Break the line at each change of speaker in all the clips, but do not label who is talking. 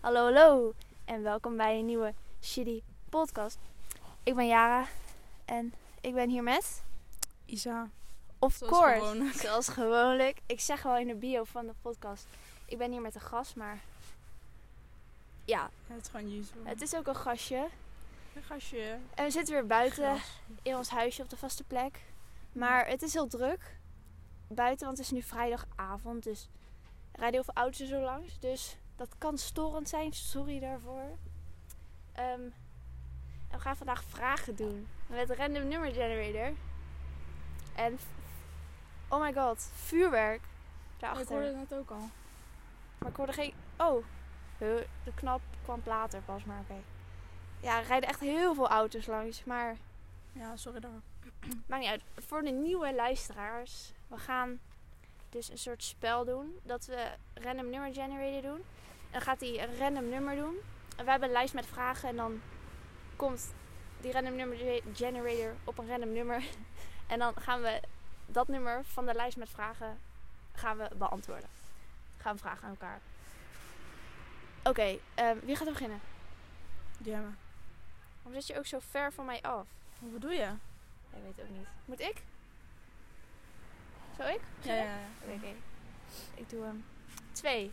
Hallo, hallo en welkom bij een nieuwe Shitty Podcast. Ik ben Jara en ik ben hier met,
Isa.
of
Zoals
course,
gewoonlijk.
zoals gewoonlijk. Ik zeg wel in de bio van de podcast, ik ben hier met een gast, maar ja,
Ja, het is gewoon Jezus.
het is ook een gastje.
Een gastje.
En we zitten weer buiten
Gras.
in ons huisje op de vaste plek, maar het is heel druk buiten, want het is nu vrijdagavond, dus er rijden heel veel auto's er zo langs, dus dat kan storend zijn, sorry daarvoor. Ehm, en we gaan vandaag vragen doen met Random Number Generator. En f- oh my god, vuurwerk
Ja, ik
daarachter.
hoorde het net ook al.
Maar ik hoorde geen... Oh, Huh, de knap kwam later pas, maar oké. Ja, er rijden echt heel veel auto's langs, maar
Ja, sorry daar.
Maakt niet uit. Voor de nieuwe luisteraars. We gaan dus een soort spel doen. Dat we random nummer generator doen. En dan gaat hij een random nummer doen. En we hebben een lijst met vragen. En dan komt die random nummer ge- generator op een random nummer. en dan gaan we dat nummer van de lijst met vragen gaan we beantwoorden. Gaan we vragen aan elkaar. Oké, ehm, wie gaat er beginnen?
Jamma.
Waarom zit je ook zo ver van mij af?
Wat bedoel je?
Ik weet ook niet. Moet ik? Zou ik?
Ja, ja, ja.
Oké, oké. Ik doe hem. Twee.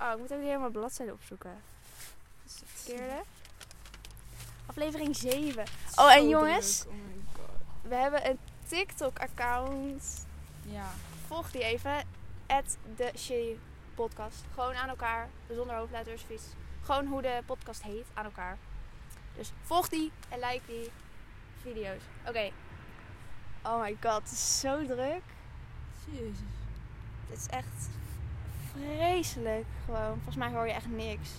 Oh, ik moet ook weer helemaal bladzijden opzoeken. Verkeerde. Aflevering 7. Oh, en
Zo
jongens?
druk, Oh my god.
We hebben een TikTok-account.
Ja.
Volg die even. At the Shitty Podcast. Gewoon aan elkaar. Zonder hoofdletters of iets. Gewoon hoe de podcast heet aan elkaar. Dus volg die en like die video's. Oké. Oh my god, het is zo druk.
Jezus.
Het is echt vreselijk gewoon. Volgens mij hoor je echt niks.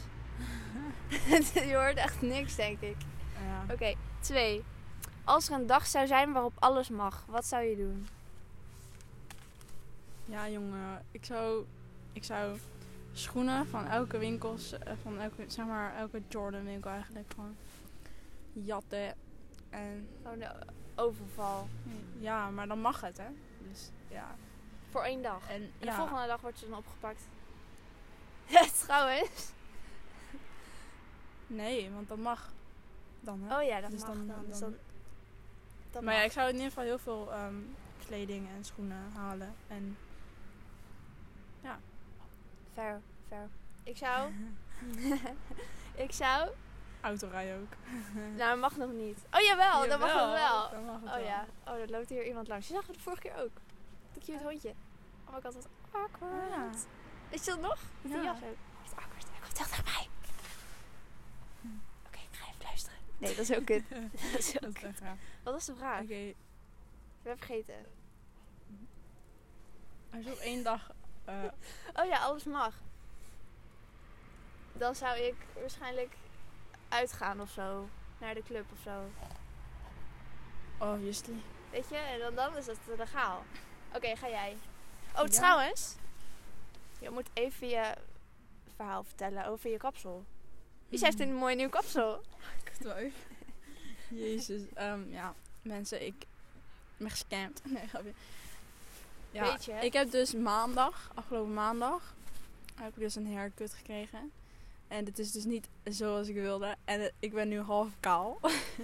je hoort echt niks, denk ik.
Ja.
Oké, twee. Als er een dag zou zijn waarop alles mag, wat zou je doen?
ja, jongen. Ik zou, ik zou schoenen van elke winkel, s- eh, van elke, zeg maar, elke Jordan winkel eigenlijk gewoon jatten. En
Gewoon een overval.
ja, maar dan mag het, hè. Dus ja.
Voor één dag.
En,
En
ja.
de volgende dag wordt ze dan opgepakt. Ja, trouwens.
Nee, want dat mag. Dan, hè.
Oh ja, dat
Dus
mag dan.
dan-
dus
dan-
dan, dat
maar ja,
mag.
ik zou in ieder geval heel veel ehm, kleding en schoenen halen. En
Fair, fair. Ik zou... ik zou...
autorijden ook.
Nou, dat mag nog niet. Oh jawel, dat mag nog wel.
Dan mag het
Oh
wel.
ja, oh, er loopt hier iemand langs. Je zag het de vorige keer ook. Dat cute hondje. Oh my god, wat awkward.
Oh ja.
Is je dat nog? Met die
Ja.
jas ook. Wat awkward, hij komt heel dichtbij. Oké, ik ga even luisteren. Hm. Nee, dat is ook kut. dat is heel
Dat is
kut.
echt raar.
Wat was de vraag?
Oké,
We hebben vergeten.
als je op één dag... eh,
Oh ja, alles mag. Dan zou ik waarschijnlijk uitgaan of zo. Naar de club of zo.
obviously.
Weet je, en dan, dan is dat legaal. Oké, ga jij. Oh,
Ja.
trouwens. Je moet even je verhaal vertellen over je kapsel. Wie heeft
Hmm.
een mooi nieuw kapsel?
Jezus. ehm, ja, mensen, ik ben gescamd. Nee, grapje. Ja,
Weet je, hè?
ik heb dus maandag, afgelopen maandag, heb ik dus een haircut gekregen. En het is dus niet zoals ik wilde. En het- ik ben nu half kaal.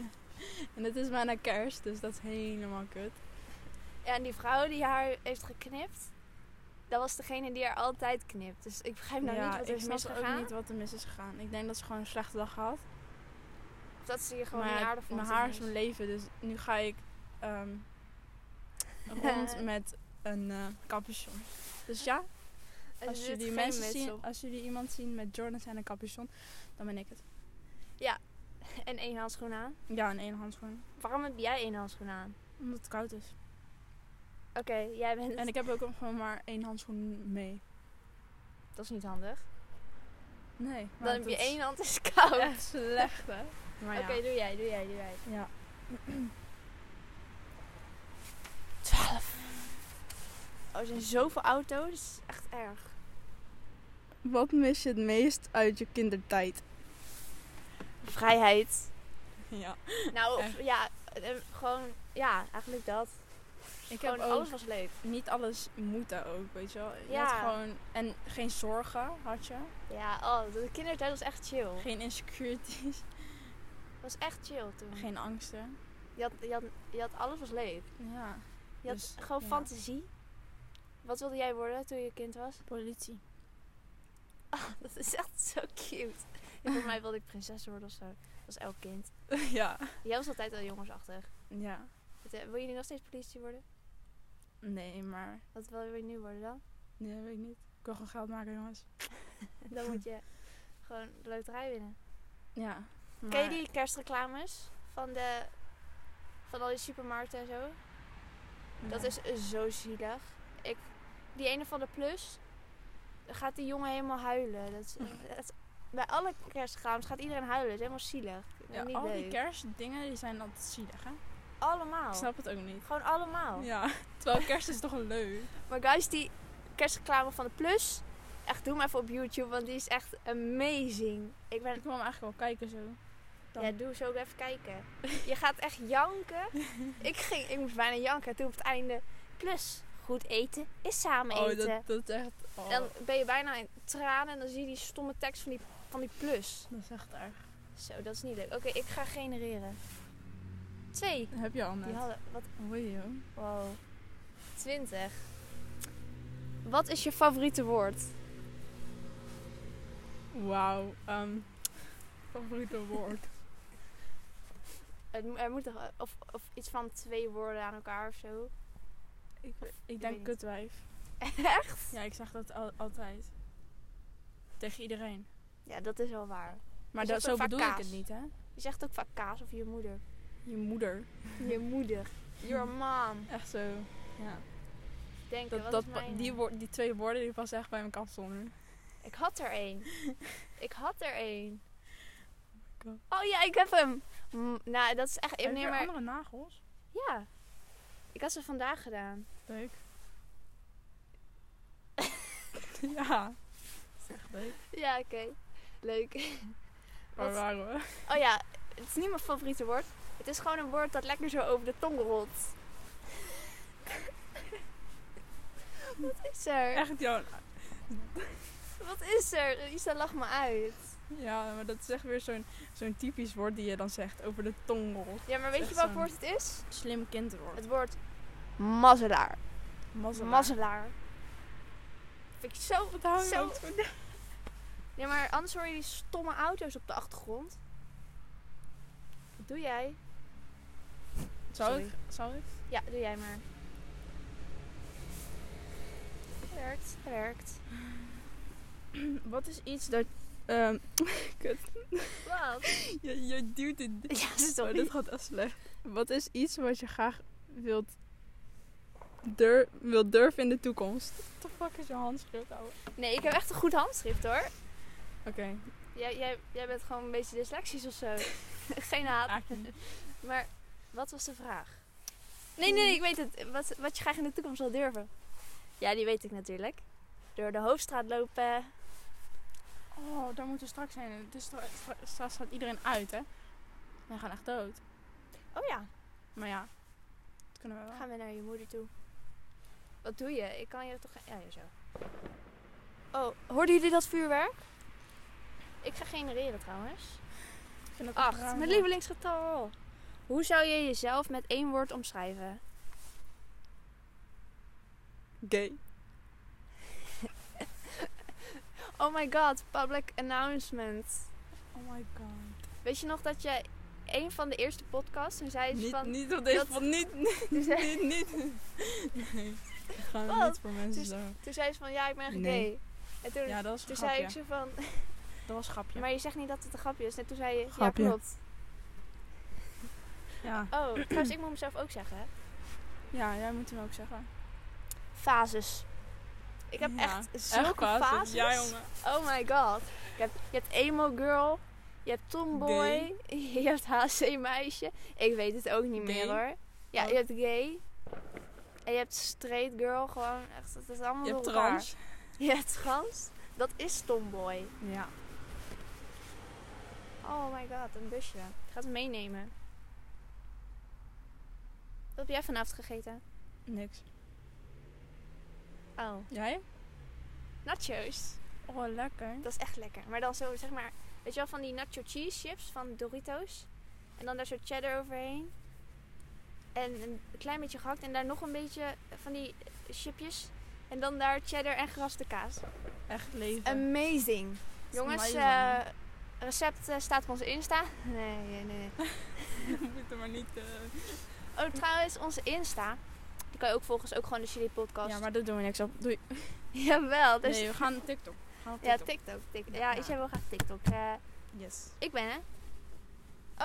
en het is bijna kerst, dus dat is helemaal kut.
Ja, en die vrouw die haar heeft geknipt, dat was degene die haar altijd knipt. Dus ik begrijp nou niet wat er
ik
is
snap ook
misgegaan.
niet wat er mis is gegaan. Ik denk dat ze gewoon een slechte dag had.
Of dat ze je gewoon
Maar
niet
ja,
aardig vond.
mijn
of
haar
iets.
is mijn leven, dus nu ga ik ehm, rond met een eh, capuchon. Dus ja,
En
als
ze doet
jullie,
geen
mensen
muts
zien,
op.
als jullie iemand zien met Jordans en een capuchon, dan ben ik het.
En één handschoen aan.
Ja, en één handschoen.
Waarom heb jij één handschoen aan?
Omdat het koud is.
Oké, jij bent...
En ik heb ook gewoon maar één handschoen mee.
Dat is niet handig.
Nee.
Dan
maar
heb
dat
je
is
één hand is koud.
Echt slecht, hè? Maar ja.
Oké, doe jij, doe jij, doe jij.
ja.
12. Oh, er zijn zoveel auto's. Dat is echt erg.
Wat mis je het meest uit je kindertijd?
Vrijheid.
Ja.
Nou,
Echt.
ja, eh, gewoon, ja, eh, eigenlijk dat.
Ik heb
Gewoon
ook
alles was leuk.
niet alles moeten ook, weet je wel. Je
Ja.
had gewoon... En geen zorgen had je.
Ja, oh, de kindertijd was echt chill.
Geen insecurities.
Mm. was echt chill toen.
Geen angsten.
Je had, je had, je had alles was leuk.
Ja.
Je had
Dus,
gewoon
ja.
fantasie. Wat wilde jij worden toen je kind was?
Politie.
Dat is echt zo cute. Volgens mij wilde ik prinses worden of zo. Dat was elk kind.
ja.
Jij was altijd al jongensachtig.
Ja.
Wat, eh, Wil je nu nog steeds politie worden?
Nee, maar...
Wat wil je nu worden dan?
Nee, dat weet ik niet. Ik wil gewoon geld maken, jongens.
Dan moet je gewoon de loterij winnen.
Ja.
Ken je
maar-
die kerstreclames van, de, van al die supermarkten en zo? Dat
Ja.
is eh, zo zielig. Ik, die ene van de plus, dan gaat die jongen helemaal huilen. Dat is, dat is- bij alle kerstgaams gaat iedereen huilen. Het is helemaal zielig.
Ja,
niet
al
leuk. Oh.
die kerstdingen die zijn altijd zielig, hè?
allemaal.
Ik snap het ook niet.
Gewoon allemaal.
Ja, terwijl kerst is toch leuk.
Maar guys, die kerstreclame van de plus, echt doe hem even op YouTube, want die is echt amazing. Ik ben
Ik wil hem eigenlijk wel kijken zo. Dan-
Ja, doe zo ook even kijken. Je gaat echt janken. ik, ging, ik moest bijna janken. En Toen op het einde, plus goed eten is samen
oh,
eten.
dat, dat is echt... Oh,
Dan ben je bijna in tranen en dan zie je die stomme tekst van die, van die plus.
dat is echt erg.
Zo, dat is niet leuk. Oké, ik ga genereren. Twee.
Dat heb je al
Die
net.
hadden, wat,
Oei, joh.
wow. Twintig. Wat is je favoriete woord?
Wauw. ehm favoriete woord.
Het, mo- er moet toch, eh, of, of iets van twee woorden aan elkaar of zo.
ik, ik
weet niet.
denk kutwijf.
Echt?
Ja, ik zeg dat al- altijd. Tegen iedereen.
Ja, dat is wel waar.
Maar
Is
dat,
dat
zo
ook vaak
bedoel ik
kaas?
het niet, hè?
Je zegt ook vaak kaas of je moeder.
Je moeder.
Je moeder. Your mom.
Echt zo. Ja.
Denk,
Dat,
wat
dat,
is mijn...
die, woor- die twee woorden die passen echt bij mijn kapsel nu.
Ik had er één. ik had er één.
God.
Oh ja, ik heb hem. Mm, nou, dat is echt... Ik
Heb je
neem maar...
andere nagels?
Ja. Ik had ze vandaag gedaan.
Leuk. ja. Echt leuk.
Ja, oké. Leuk.
Waar
Wat-
waren we?
Oh ja, het is niet mijn favoriete woord. Het is gewoon een woord dat lekker zo over de tong rolt. Wat is er?
Echt jouw...
Wat is er? Isa lacht me uit.
Ja, maar dat is echt weer zo'n zo'n typisch woord die je dan zegt over de tong rolt.
Ja, maar
is
weet je
echt
welk
zo'n-
woord het is?
Slim kindwoord.
Het woord mazzelaar.
Mazzelaar.
Mazzelaar. Vind ik zo...
Wat hou je
Zo-
ook voor de-
Ja, maar anders hoor je die stomme auto's op de achtergrond. Wat doe jij?
Zou
Sorry.
ik? Zou ik?
Ja, doe jij maar. Het werkt, het werkt.
Wat is iets dat... ehm, kut.
Wat?
Je, je duwt het...
Ja, sorry.
Oh, dit gaat echt slecht. Wat is iets wat je graag wilt, dur wilt durven in de toekomst? What the fuck is je handschrift, ouwe?
Nee, ik heb echt een goed handschrift hoor.
Oké.
Jij, jij, jij bent gewoon een beetje dyslexisch of zo. Geen haat.
Eigenlijk niet.
Maar wat was de vraag? Nee, nee, nee, ik weet het. Wat, wat je graag in de toekomst wil durven. Ja, die weet ik natuurlijk. Door de hoofdstraat lopen.
Oh, daar moeten we straks zijn. Dus stra- stra- straks gaat iedereen uit, hè? We gaan echt dood.
Oh ja,
Maar ja, dat kunnen we wel.
dan gaan we naar je moeder toe. Wat doe je? Ik kan je toch... Ja, ja, zo. Oh, hoorden jullie dat vuurwerk? Ik ga genereren trouwens.
Ik vind dat echt raar,
Acht, mijn
ja.
lievelingsgetal. Hoe zou je jezelf met één woord omschrijven?
Gay.
Oh my god, public announcement.
Oh my god.
Weet je nog dat je een van de eerste podcasts, toen zei ze
Niet,
van...
niet op deze
dat-
pot. Niet, niet,
Toen zei,
niet. Nee. We gaan
Wat?
niet voor mensen
Dus-
zo.
toen zei ze van, ja, ik ben gay.
Nee.
En toen,
Ja, dat was een
toen
grapje.
zei ik zo van,
Dat was een grapje.
maar je zegt niet dat het een grapje is. En toen zei je,
Grapje.
ja, klopt.
Ja.
Oh, trouwens, ik moet mezelf ook zeggen. hè.
ja, jij moet hem ook zeggen.
Fases. Ik heb
Ja,
echt zulke
basis.
fases.
Ja, jongen.
Oh my god. Je hebt, je hebt emo girl. Je hebt tomboy. Je hebt HC meisje. Ik weet het ook niet
Gay. Oh.
meer hoor. Ja,
Ook.
je hebt gay. En je hebt straight girl. Gewoon echt, het is allemaal
Je hebt
door elkaar.
trans.
Je hebt trans. Dat is tomboy.
Ja.
Oh my god, een busje. Ik ga het meenemen. Wat heb jij vanavond gegeten?
Niks.
Oh.
Jij?
Nachos.
Oh, lekker.
Dat is echt lekker. Maar dan zo, zeg maar, weet je wel, van die nacho cheese chips van Doritos. En dan daar zo cheddar overheen. En een klein beetje gehakt. En daar nog een beetje van die chipjes. En dan daar cheddar en geraste kaas.
Echt leven.
Ehm, Amazing.
is
Jongens,
amazing.
eh, recept eh, staat op onze Insta. Nee, nee, nee.
We moeten maar niet... eh,
Oh, trouwens, onze Insta. Die kan je ook volgens ook gewoon de Chili Podcast.
Ja, maar daar doen we niks op. Doei.
Jawel, dus...
Nee, we gaan TikTok. We gaan op
ja,
TikTok.
TikTok. TikTok.
Ja.
Ja, ik heb wel graag TikTok. Eh,
Yes.
ik ben, hè?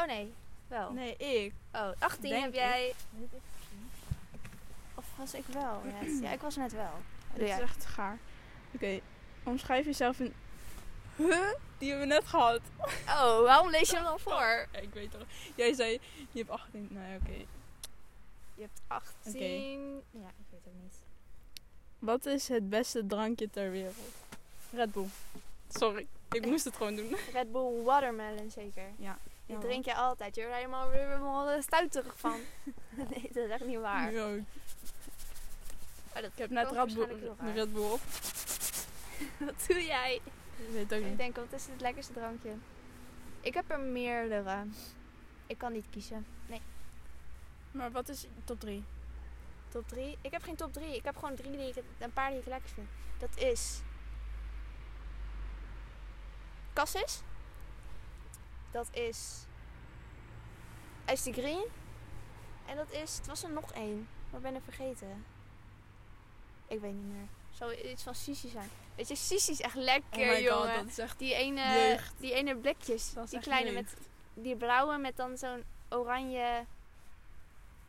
Oh, nee. Wel.
Nee, ik.
Oh, 18
Denk
heb
ik.
jij... Of was ik wel net? Ja, ik was net wel. Dus,
Dit
Doe
is
jij.
echt gaar. Oké, omschrijf jezelf in... Huh? Die hebben we net gehad.
Oh, waarom lees je hem dan voor?
Ja, ik weet toch. Jij zei, je hebt 18. Nou ja, oké.
Je hebt 18... Ja, ik weet het niet.
Wat is het beste drankje ter wereld? Red Bull. Sorry, ik moest het gewoon doen.
Red Bull Watermelon zeker. Die drink je altijd. Je wordt helemaal, weer helemaal eh, stouterig van. nee, dat is echt niet waar.
Ja, ik
Maar dat
ik heb net
klonk
Red Bull,
waarschijnlijk heel raar.
Red Bull op.
Wat doe jij?
Ik weet het ook
Ik
niet.
denk, wat is het lekkerste drankje? Ik heb er meerdere. Ik kan niet kiezen. Nee,
Maar wat is top Oh 3?
top 3. Ik heb geen top 3. Ik heb gewoon drie die ik, een paar die ik lekker vind. Dat is... Cassis. Dat is... Ice the Green. En dat is... Het was er nog één. Maar ik ben er vergeten. Ik weet niet meer. Zou iets van Sissi zijn. Weet je, Sissi is echt lekker, jongen.
Oh dat is echt...
Die ene,
Jeugd.
die ene blikjes.
Dat is
Die
echt
kleine
jeugd.
met die blauwe met dan zo'n oranje.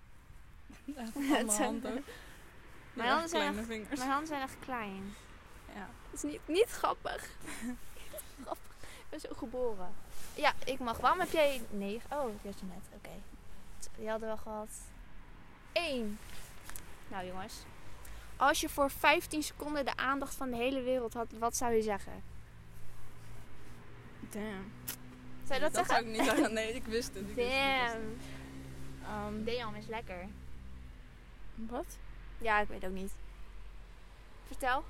Echt van mijn
zijn-
hand ook. Die
handen
echt
zijn
kleine
echt-
vingers.
Mijn handen zijn echt klein.
Ja.
Dat is niet, niet grappig. Niet grappig. Ik ben zo geboren. Ja, ik mag. Waarom heb jij negen? Oh, je had je net. Oké. Die hadden we gehad. Eén. Nou jongens. Als je voor 15 seconden de aandacht van de hele wereld had, wat zou je zeggen?
Damn.
Zou je dat,
dat
zeggen?
zou ik niet zeggen. Nee, ik wist het. Ik wist het, ik wist
Damn.
het. Ehm,
Damn is lekker.
wat?
Ja, ik weet ook niet. Vertel.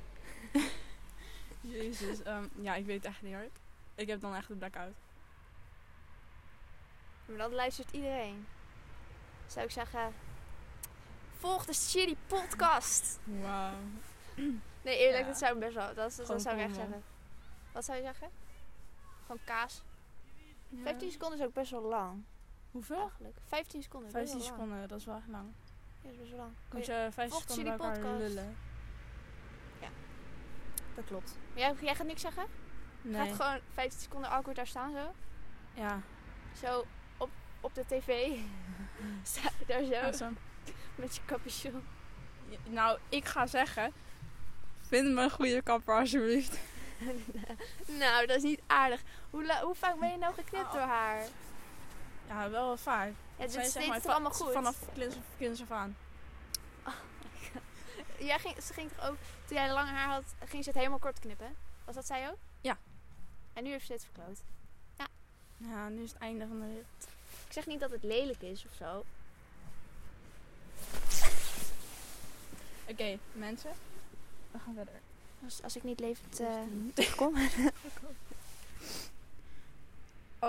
Jezus. ehm, ja, ik weet het echt niet hoor. Ik heb dan echt een blackout.
Maar dat luistert iedereen. Zou ik zeggen, volg de Shitty podcast.
Wauw.
Nee, eerlijk,
Ja.
dat zou ik best wel. Dat, dat,
Gewoon
zou ik echt
cool, man.
zeggen. Wat zou je zeggen? Gewoon kaas. 15 seconden is ook best wel lang.
Hoeveel?
Eigenlijk. 15 seconden. is best
15
wel lang.
seconden, dat is wel echt lang.
Ja, is best wel lang.
Moet je 5
volgt
seconden bij
jullie
elkaar
podcast?
lullen.
Dat klopt. Maar jij, jij gaat niks zeggen?
Nee.
Gaat gewoon 15 seconden awkward daar staan zo?
Ja.
Zo op, op de tv. Sta je daar zo
Awesome.
met je capuchon.
Ja, Nou, ik ga zeggen... Vind me een goede kapper alsjeblieft.
Nou, dat is niet aardig. Hoe, la- hoe vaak ben je nou geknipt
Oh.
door haar?
Ja, wel vaak.
Ja, dit
Zij
is
zeg
het
maar
toch
va-
allemaal goed?
Vanaf kinds, kinds af aan.
Jij ging, ze ging toch ook, toen jij lang haar had, ging ze het helemaal kort knippen? Was dat zij ook?
Ja.
En nu heeft ze het verkloot.
Ja, nu is het einde van de rit.
Ik zeg niet dat het lelijk is of zo.
Oké, mensen. We gaan verder.
Als, als ik niet levend eh,
Dus-
terugkom.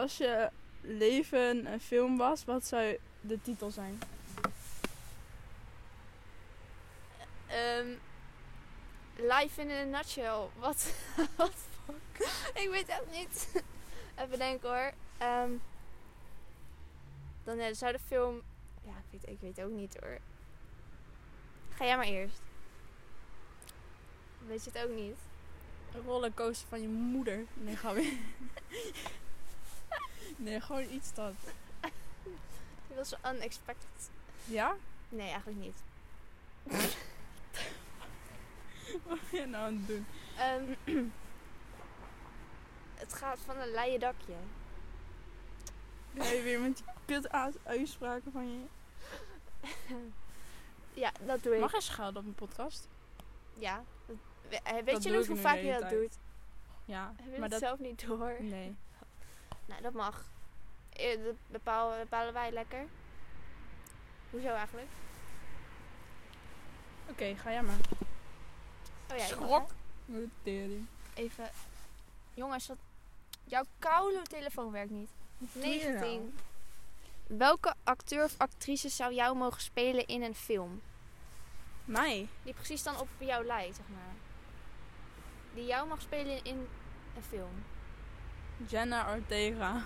Als je leven een film was, wat zou de titel zijn?
Ehm, live in a nutshell. Wat? Wat? fuck? ik weet echt niet. Even denken hoor. Ehm, dan eh, zou de film... Ja, ik weet, ik weet ook niet hoor. Ga jij maar eerst. Weet je het ook niet?
Een rollercoaster van je moeder. Nee, ga weer. nee, gewoon iets dat.
Je was zo unexpected.
Ja?
Nee, eigenlijk niet.
Wat ben je nou aan het doen?
Ehm, het gaat van een leien dakje.
Ga je weer met die kut uit- uitspraken van je?
Ja, dat doe ik.
Mag je schelden op een podcast?
Ja. Dat- we- eh, Weet
Dat
je
doe
nog
ik
hoe
nu
vaak
de
je
hele
dat
tijd.
doet?
Ja.
Heb je
Maar
het
dat...
zelf niet door?
Nee.
Nou, dat mag. Eh, Dat bepalen, bepalen wij lekker. Hoezo eigenlijk?
Oké, ga jij maar.
Oh ja, ik mag,
Schrok. Wat tering.
hè? Even. Jongens, wat... jouw koude telefoon werkt niet.
doe je nou?
19. Welke acteur of actrice zou jou mogen spelen in een film?
Mij?
Die precies dan op jou lijkt, zeg maar. Die jou mag spelen in een film.
Jenna Ortega.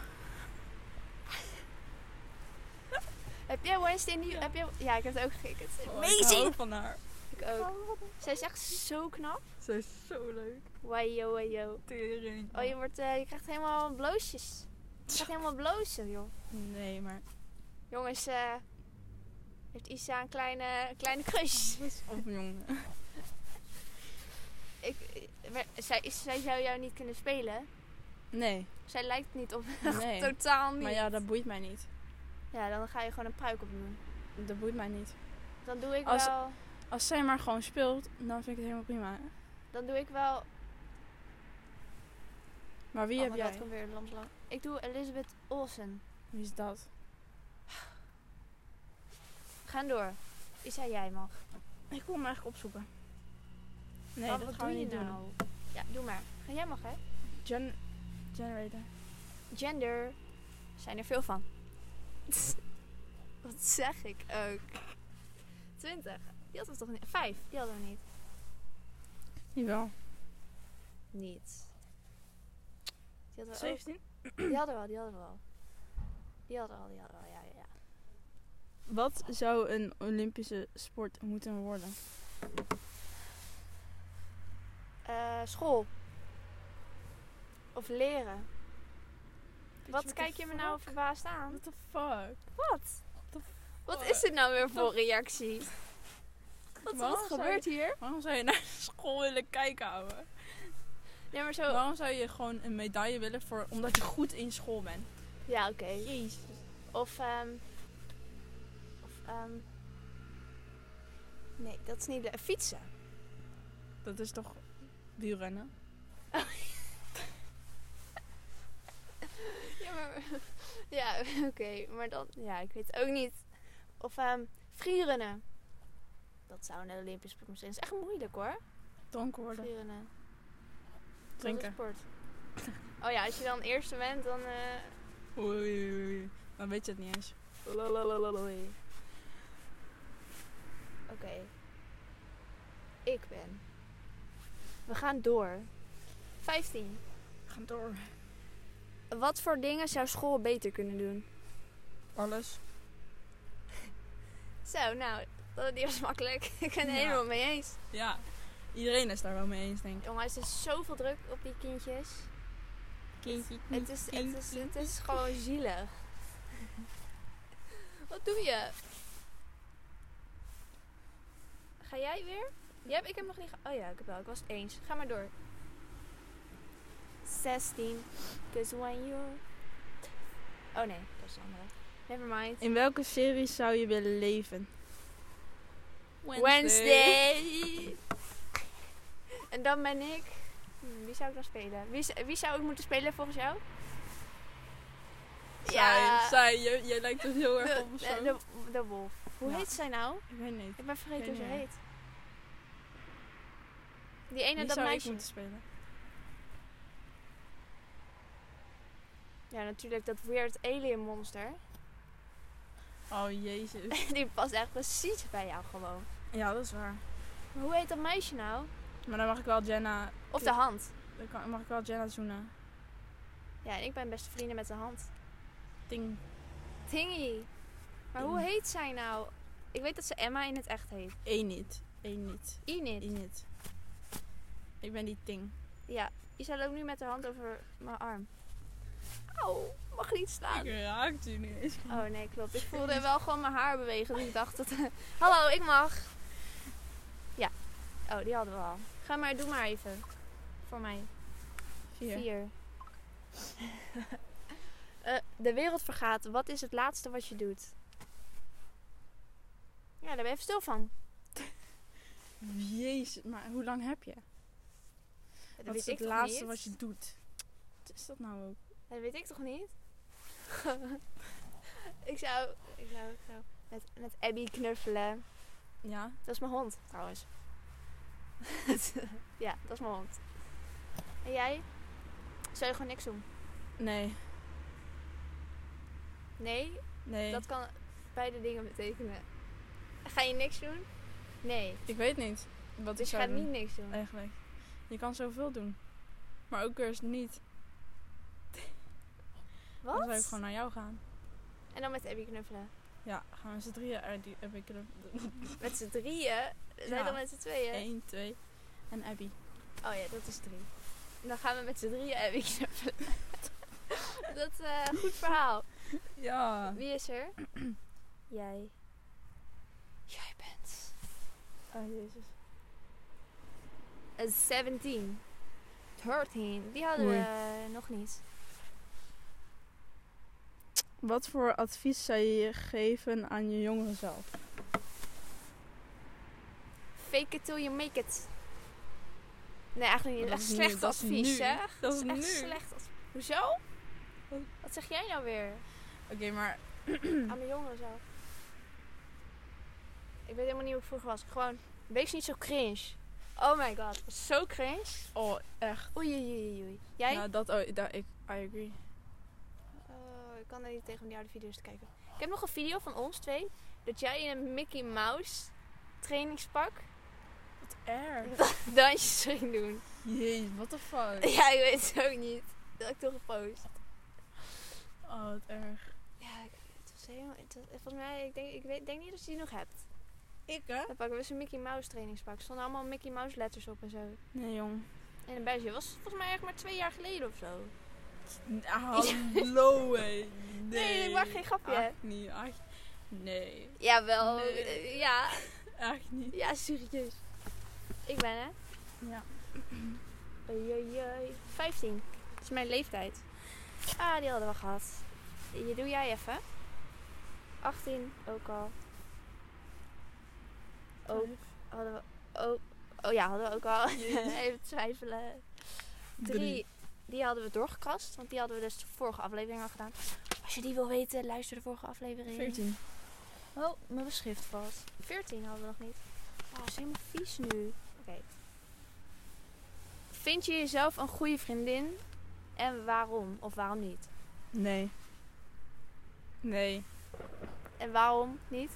Heb jij Wednesday in die... Heb jij... Ja, ik heb het ook gekeken. Het is
Oh, Ik
amazing!
hou van haar.
ik ook. Zij is echt zo knap.
Ze is zo leuk.
Wajo, wajo.
Tering.
Oh, je, wordt, eh, je krijgt helemaal bloosjes. Je krijgt helemaal blozen, joh.
Nee, maar...
Jongens, eh, heeft Isa een kleine, kleine crush.
Of jongen.
Ik, eh, maar zij, is- zij zou jou niet kunnen spelen.
Nee.
Zij lijkt niet op
Nee.
totaal niet.
Maar ja, dat boeit mij niet.
Ja, dan ga je gewoon een pruik op doen.
Dat boeit mij niet.
Dan doe ik
Als-
wel...
Als zij maar gewoon speelt, dan vind ik het helemaal prima.
Dan doe ik wel...
Maar wie
oh
heb
my
jij?
God, kom weer lamslang. Ik doe Elizabeth Olsen.
Wie is dat?
Gaan door. Isa, jij mag.
Ik wil hem eigenlijk opzoeken. Nee,
Wat-
dat
Oh, wat
gaan we
doe je
niet doen.
nou? Ja, doe maar. Ga jij mag, hè?
Gen generator.
Gender. Zijn er veel van. Wat zeg ik ook. 20. Die hadden we toch niet? Vijf. Die hadden we niet.
Jawel.
Niet. Die hadden we ook. Die hadden we al, die hadden we al. Die hadden we al, die hadden we al, ja, ja, ja.
Wat zou een Olympische sport moeten worden?
Eh, school. Of leren. Wat kijk je me nou verbaasd aan?
What the fuck?
Wat?
the
Wat
fuck?
is dit nou weer voor reactie? Wat,
Waarom
wat
zou
gebeurt hier?
Waarom zou je naar school willen kijken, ouwe?
Ja, maar zo...
Waarom zou je gewoon een medaille willen voor omdat je goed in school bent?
Ja, oké.
Jezus.
Of, ehm of ehm nee, dat is niet leuk. Fietsen.
Dat is toch wielrennen?
Ja, maar, ja oké. Maar dan, ja, ik weet het ook niet. Of ehm freerunnen. Dat zou een Olympisch sport moeten zijn. Dat is echt moeilijk hoor.
Dronken worden.
Freerunnen. Dat is een
Drinken.
sport. Oh ja, als je dan eerste bent, dan... eh
Oei, oei, oei. Dan weet je het niet eens.
Lalalalaloei. Oké. Ik ben. We gaan door. 15.
We gaan door.
Wat voor dingen zou school beter kunnen doen?
Alles.
Zo, nou, dat- die was makkelijk. Ik ben het
Ja.
helemaal mee eens.
Ja. Iedereen is daar wel mee eens, denk ik.
Jongens, er is zoveel druk op die kindjes.
Kindje.
Het is, het is, het is gewoon zielig. Wat doe je? Ga jij weer? Jij hebt, ik heb nog niet... ge- Oh ja, ik heb wel. Ik was het eens. Ga maar door. 16. Cause when you... Oh nee, dat is de andere. Never mind.
In welke serie zou je willen leven?
Wednesday. En dan ben ik. Hmm, Wie zou ik dan spelen? Wie, z- wie zou ik moeten spelen volgens jou?
Saai, saai. Jij, jij lijkt het heel erg
De,
op of
de,
zo.
de- de wolf. Hoe
Ja.
heet zij nou?
Ik weet niet.
Ik ben vergeten hoe
Geen
ze
idee.
heet. Die ene
Wie
dat
zou ik
meisje.
moeten spelen?
Ja, natuurlijk dat weird alien monster.
Oh, jezus.
Die past echt precies bij jou gewoon.
ja, dat is waar.
Maar hoe heet dat meisje nou?
Maar dan mag ik wel Jenna...
Of de hand.
Dan kan- mag ik wel Jenna zoenen.
Ja, en ik ben beste vrienden met de hand.
Ding.
Tingy. Maar hoe
Tingy.
heet zij nou? Ik weet dat ze Emma in het echt heet.
Eén niet. Eén niet.
Enid.
Eén niet. Ik ben die Ting.
Ja, Isa loopt nu met haar hand over mijn arm. Auw, mag niet staan.
raak die niet eens.
Oh nee, klopt. Ik voelde wel gewoon mijn haar bewegen. Dus ik dacht dat... Hallo, ik mag. Ja. Oh, die hadden we al. Ga maar, doe maar even. Voor mij.
Vier.
Vier. Eh, de wereld vergaat. Wat is het laatste wat je doet? Ja, daar ben je even stil van.
Jezus, maar hoe lang heb je?
Dat
Wat
weet
is het
ik toch
laatste
niet?
wat je doet? Wat is dat nou ook?
Dat weet ik toch niet? ik zou, ik zou, ik zou met, met Abby knuffelen.
Ja.
Dat is mijn hond, trouwens. ja, dat is mijn hond. En jij? Zou je gewoon niks doen?
Nee.
Nee,
Nee.
dat kan beide dingen betekenen. Ga je niks doen? Nee.
Ik weet niet
Dus
wat ik
je
zou
gaat
doen.
niet niks doen.
Eigenlijk. Je kan zoveel doen. Maar ook eerst niet. Dan zou ik
Wat?
gewoon naar jou gaan.
En dan met Abby knuffelen.
Ja, gaan we met z'n drieën uit die heb ik er
Met z'n drieën? Zijn
Ja.
dan met z'n tweeën?
1, 2 en Abby.
Oh ja, dat is drie. Dan gaan we met z'n drieën Abby knuffelen. dat eh goed verhaal.
Ja.
Wie is er? Jij. Jij bent.
Oh jezus.
een 17. 13. Die hadden
Oei.
we nog niet.
Wat voor advies zou je geven aan je jongere zelf?
Fake it till you make it. Nee, eigenlijk niet.
Maar
Dat
dat
is
is
slecht
nu- dat is
advies,
nu.
hè?
Dat is
Echt
nu. Oh.
slecht advies. Hoezo? Wat zeg jij nou weer?
Oké, maar Hm.
Aan de jongeren zelf. Ik weet helemaal niet hoe ik vroeger was. Gewoon, wees niet zo cringe. Oh my god, was zo cringe.
oh echt.
Oei, oei, oei, oei. Jij?
Ja, dat oh, daar, ik I agree.
Oh, ik kan er niet tegen om die oude video's te kijken. Ik heb nog een video van ons twee. Dat jij in een Mickey Mouse trainingspak
Wat erg.
dansjes ging doen.
Jezus, what the fuck.
Ja, ik weet het ook niet. Dat heb ik toch gepost.
Oh, wat erg.
Ja, ik, het was helemaal... Het was, volgens mij, ik denk, ik weet, denk niet dat je die nog hebt.
Ik hè?
Dat pak was een Mickey Mouse trainingspak. Er stonden allemaal Mickey Mouse letters op en zo.
Nee jong.
In een badge. Dat was volgens mij echt maar twee jaar geleden of zo.
Hallo hé. Nee.
Nee, ik maak geen grapje.
Echt niet, echt. Nee,
Jawel.
Nee.
eh, Ja,
echt niet.
ja, serieus. Ik ben hè.
Ja.
Oei, oei, oei. 15. Dat is mijn leeftijd. Ah, die hadden we gehad. Je doe jij even. 18 ook al. Ook hadden we ook. Oh ja, hadden we ook al.
Jezus.
Even twijfelen. Drie. Die hadden we doorgekrast. Want die hadden we dus de vorige aflevering al gedaan. Als je die wil weten, luister de vorige aflevering.
14.
Oh, mijn beschrift valt. 14 hadden we nog niet. Oh, is helemaal vies nu. Oké. Vind je jezelf een goede vriendin? En waarom? Of waarom niet?
Nee. Nee.
En waarom niet?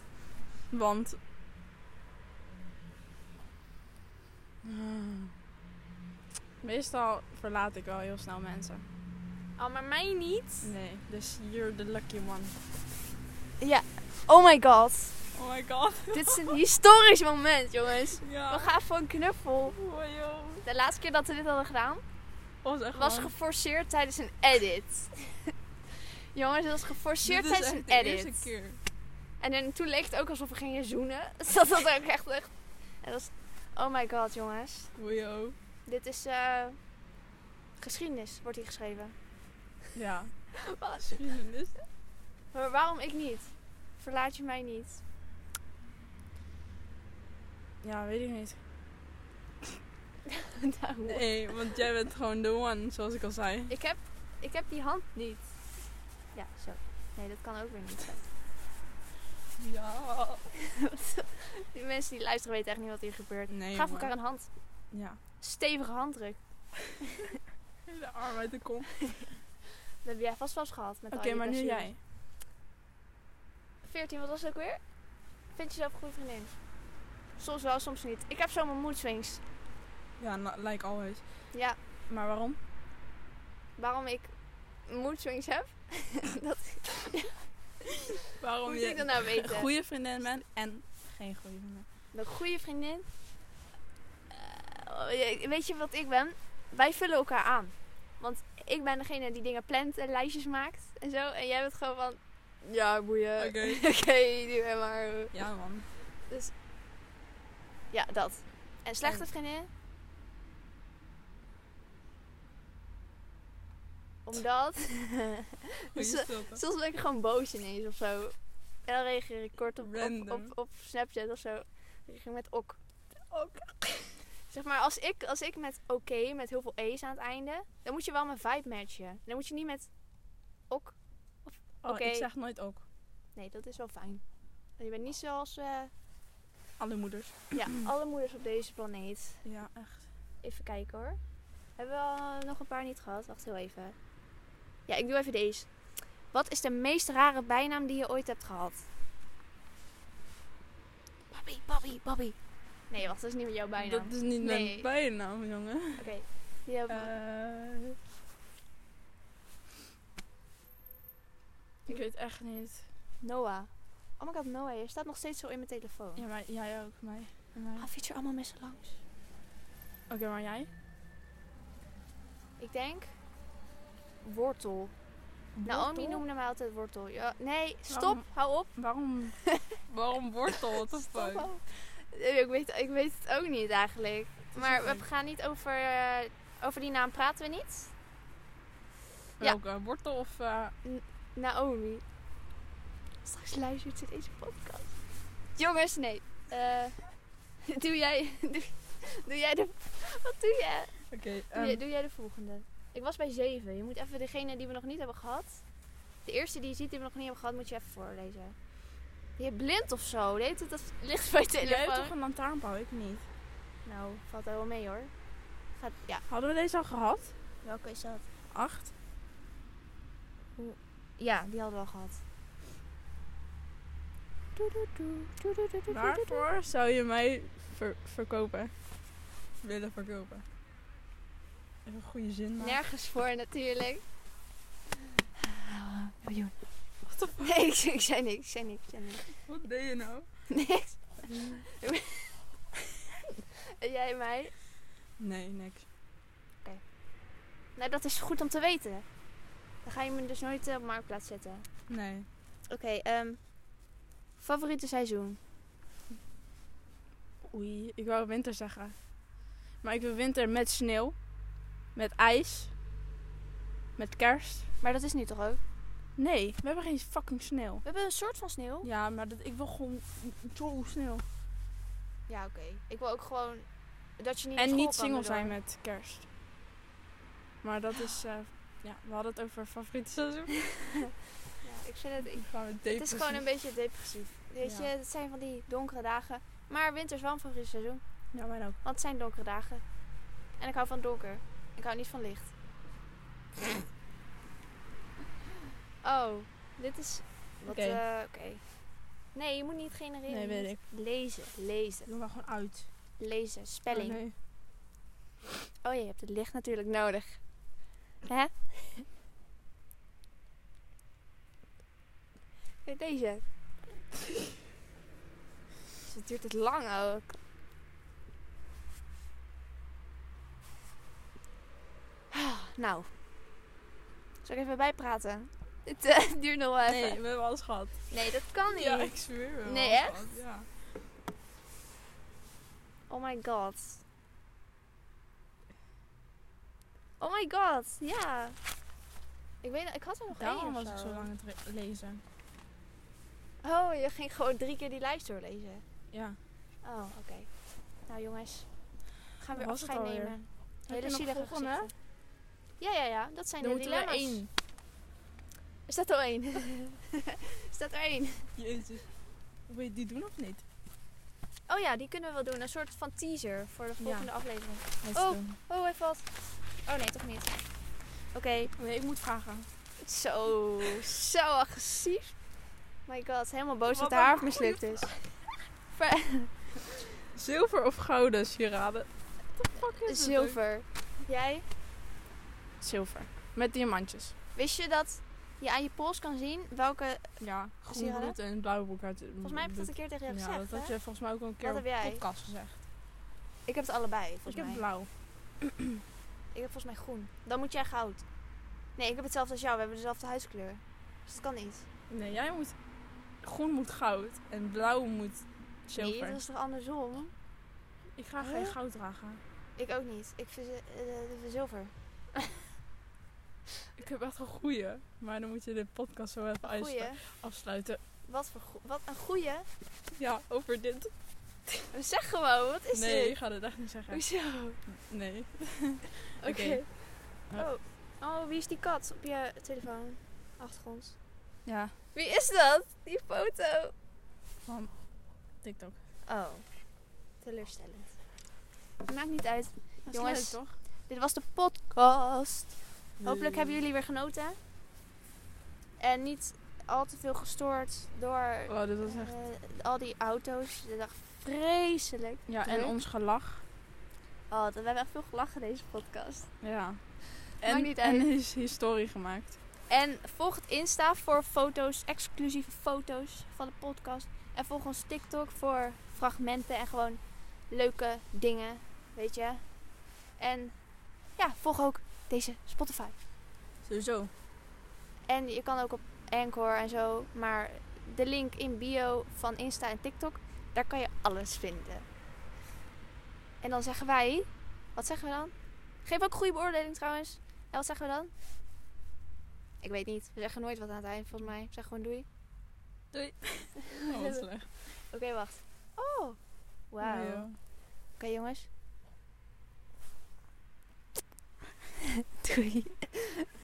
Want. Meestal verlaat ik wel heel snel mensen.
Oh, maar mij niet.
Nee, dus you're the lucky one.
Ja. Oh my god.
Oh my god.
Dit is een historisch moment, jongens.
Ja.
We gaan voor een knuffel.
Oh, joh.
De laatste keer dat we dit hadden gedaan,
Was echt
was
gewoon-
geforceerd tijdens een edit. jongens, het was
Dit
geforceerd
is
tijdens
echt
een
de
edit.
eerste keer.
En dan- toen leek het ook alsof we gingen zoenen. Dus dat was ook echt echt... En dat was, oh my god, jongens.
Oh, joh.
Dit is... eh, geschiedenis wordt hier geschreven.
Ja.
Wat?
Geschiedenis.
Maar waarom ik niet? Verlaat je mij niet?
Ja, weet ik niet.
Nou,
Nee, want jij bent gewoon de one, zoals ik al zei.
ik, heb, ik heb die hand niet. Ja, zo. Nee, dat kan ook weer niet. zijn.
Ja.
Die mensen die luisteren weten echt niet wat hier gebeurt.
Nee.
Gaaf
maar-
elkaar een hand.
Ja.
Stevige handdruk.
De arm uit de kom.
Dat heb jij vast wel eens gehad. met
Oké,
al je
maar nu
blessures.
jij.
14, wat was het ook weer? Vind jezelf een goede vriendin? Soms wel, soms niet. Ik heb zo mijn mood swings.
Ja, na- like always.
Ja,
Maar waarom?
waarom ik mood swings heb? dat
Waarom
moet ik dat nou
een
weten.
goede vriendin bent en geen goede vriendin.
Een goede vriendin. Eh, weet je wat ik ben? Wij vullen elkaar aan. Want ik ben degene die dingen plant en lijstjes maakt en zo. En jij bent gewoon van... Ja, boeien.
Oké.
doe jij maar.
Ja, man.
Ja, dat. En slechte vriendin? Omdat...
Goeie
Zo-
stilte.
Soms ben ik gewoon boos ineens of zo. En dan reageer ik kort op, op,
Random.
op, op Snapchat of zo. Dan reageer ik met ok. Ok. zeg maar, als ik, als ik met oké, met heel veel e's aan het einde, dan moet je wel mijn vibe matchen. Dan moet je niet met ok.
Oh,
Oké.
ik zeg nooit ook.
Nee, dat is wel fijn. Je bent niet zoals eh,
Alle moeders.
Ja, alle moeders op deze planeet.
Ja, echt.
Even kijken hoor. Hebben we al eh, nog een paar niet gehad? Wacht heel even. Ja, ik doe even deze. Wat is de meest rare bijnaam die je ooit hebt gehad? Babi, Babi, Babi. Nee, wacht, dat is niet jouw bijnaam.
Dat is niet
Nee.
mijn bijnaam, jongen.
Oké, die hebben we.
Eh, ik weet echt niet.
Noah. Oh my god, Noah, je staat nog steeds zo in mijn telefoon.
Ja, maar jij ook, mij. En mij.
Ah, fiets er allemaal mensen langs? Ah.
Oké, maar jij?
Ik denk wortel. Naomi
Wortel?
noemde mij altijd wortel. Ja, nee, stop,
Waarom?
hou op.
Waarom? Waarom wortel? Wat de
Stop,
fuck?
hou op. Eh, Ik weet, ik weet het ook niet eigenlijk.
is
Maar
oké.
we gaan niet over, eh, over die naam praten we niet. Ja.
Welke? Wortel of... eh,
Naomi. Straks luistert ze deze podcast. Jongens, nee. Eh, doe jij... Doe, doe jij de... Wat doe jij?
Oké.
Doe,
ehm,
jij- doe jij de volgende. Ik was bij zeven. Je moet even degene die we nog niet hebben gehad. De eerste die je ziet die we nog niet hebben gehad, moet je even voorlezen. Je bent blind of zo. Deed het dat licht bij je
jij hebt
telefoon?
toch een lantaarnpaal? Ik niet.
Nou, valt wel mee hoor. Gaat, ja,
Hadden we deze al gehad?
welke is dat?
Acht?
Ja, die hadden we al gehad. Doe, doe, doe. Doe, doe, doe, doe, doe, doe, doe.
Waarvoor zou je mij ver- verkopen? Willen verkopen? Even een goede zin maken.
Nergens voor natuurlijk. Miljoen. Nee, ik, ik zei niks, ik zei niks, ik zei niks.
Wat deed je nou?
Niks. En jij mij?
Nee, niks.
Nou, dat is goed om te weten. Dan ga je me dus nooit eh, op marktplaats zetten.
Nee.
Oké, ehm, favoriete seizoen?
Oei, ik wou winter zeggen. Maar ik wil winter met sneeuw. Met ijs. Met kerst.
Maar dat is nu toch ook?
Nee, we hebben geen fucking sneeuw.
We hebben een soort van sneeuw.
Ja, maar dat, ik wil gewoon zo sneeuw.
Ja, oké. Ik wil ook gewoon dat je niet naar
En
school
niet
kan
single
daardoor.
zijn met kerst. Maar dat is... eh, ja, we hadden het over favoriete seizoen.
Ja, ik vind het... ik-
ga met
het is gewoon een beetje depressief. Weet
Ja.
je, het zijn van die donkere dagen. Maar winter is wel een favoriet seizoen.
Ja, mij ook.
Want het zijn donkere dagen. En ik hou van donker. Ik hou niet van licht. oh, dit is. wat,
Oké.
eh, Oké. Nee, je moet niet genereren.
Nee,
je
weet
moet
ik.
Lezen, lezen,
Doe maar gewoon uit.
lezen. Spelling.
Oh, nee.
Oh, je hebt het licht natuurlijk nodig. Hè? Kijk, Deze. Zo duurt het lang ook. Ah, Nou. Zal ik even bijpraten? Het eh, duurt nog wel even.
Nee, we hebben alles gehad.
Nee, dat kan niet.
Ja, ik zweer. we hebben
Nee,
alles
echt?
gehad, Ja.
Oh my god. Oh my god, ja. Ik weet ik had er nog één
Daarom
of
was ik zo lang aan het re- lezen.
Oh, je ging gewoon drie keer die lijst doorlezen.
Ja.
Oh, oké. Nou jongens, we gaan
Wat
weer
was het
afscheid
alweer?
nemen.
je
Hele
nog
zielige
volgende?
gezichten. Ja, ja, ja. Dat zijn
Dan
de
moeten we
dilemma's.
één.
Is dat er één? Is dat er één?
Jezus. Wil je die doen of niet?
Oh ja, die kunnen we wel doen. Een soort van teaser voor de volgende aflevering.
Let's
Oh.
doen.
Oh, even wat. Oh nee, toch niet. Oké.
Nee, ik moet vragen.
Zo, zo agressief. My god, helemaal boos dat
Wat
haar haar
een goeie
mislukt is.
Zilver of gouden sieraden? What the fuck is het
Zilver. Jij,
ook? Zilver. Met diamantjes.
wist je dat je aan je pols kan zien welke...
Ja, groen
Sieraden?
bloed en blauw broek uit
Volgens mij heb ik dat een keer tegen je
Ja,
gezegd,
dat had
hè?
je volgens mij ook al een keer
Wat
op
heb jij?
de podcast gezegd.
Ik heb het allebei, volgens
ik
mij.
heb blauw.
Ik heb volgens mij groen. Dan moet jij goud. Nee, ik heb hetzelfde als jou. We hebben dezelfde huidskleur. Dus dat kan niet.
Nee, jij moet... Groen moet goud en blauw moet
Nee,
zilver.
dat is toch andersom?
Ik ga
Huh?
geen goud dragen.
Ik ook niet. Ik vind eh, eh, zilver.
Ik heb echt een goeie, maar dan moet je de podcast zo even
Goeie.
uitsla- afsluiten.
Wat, voor goe- wat een goeie.
Ja, over dit.
Zeg gewoon, wat is
nee, ik
dit?
ga dat echt niet zeggen.
Hoezo?
Nee.
Oké.
Oké.
Oh. oh, wie is die kat op je telefoon? Achtergrond.
Ja,
Wie is dat? Die foto.
van TikTok.
Oh, Oh, teleurstellend. Maakt niet uit.
Dat is
Jongens.
leuk, toch?
Dit was de podcast. Hopelijk hebben jullie weer genoten. En niet al te veel gestoord door
Oh, dit was echt...
eh, al die auto's. Dat is echt vreselijk.
Ja, en
druk.
ons gelach.
Oh, dat- we hebben echt veel gelachen deze podcast.
Ja.
Maakt niet uit.
en his- historie gemaakt.
En volg het Insta voor foto's, exclusieve foto's van de podcast. En volg ons TikTok voor fragmenten en gewoon leuke dingen, weet je. En ja, volg ook deze Spotify.
Sowieso.
En je kan ook op Anchor en zo. Maar de link in bio van Insta en TikTok, daar kan je alles vinden. En dan zeggen wij, wat zeggen we dan? Geef ook goede beoordeling trouwens. En wat zeggen we dan? Ik weet niet. We zeggen nooit wat aan het eind volgens mij. We zeggen gewoon doei.
Doei.
Oh, wat
slecht.
Oké, wacht. Oh, wauw. Oké jongens. doei.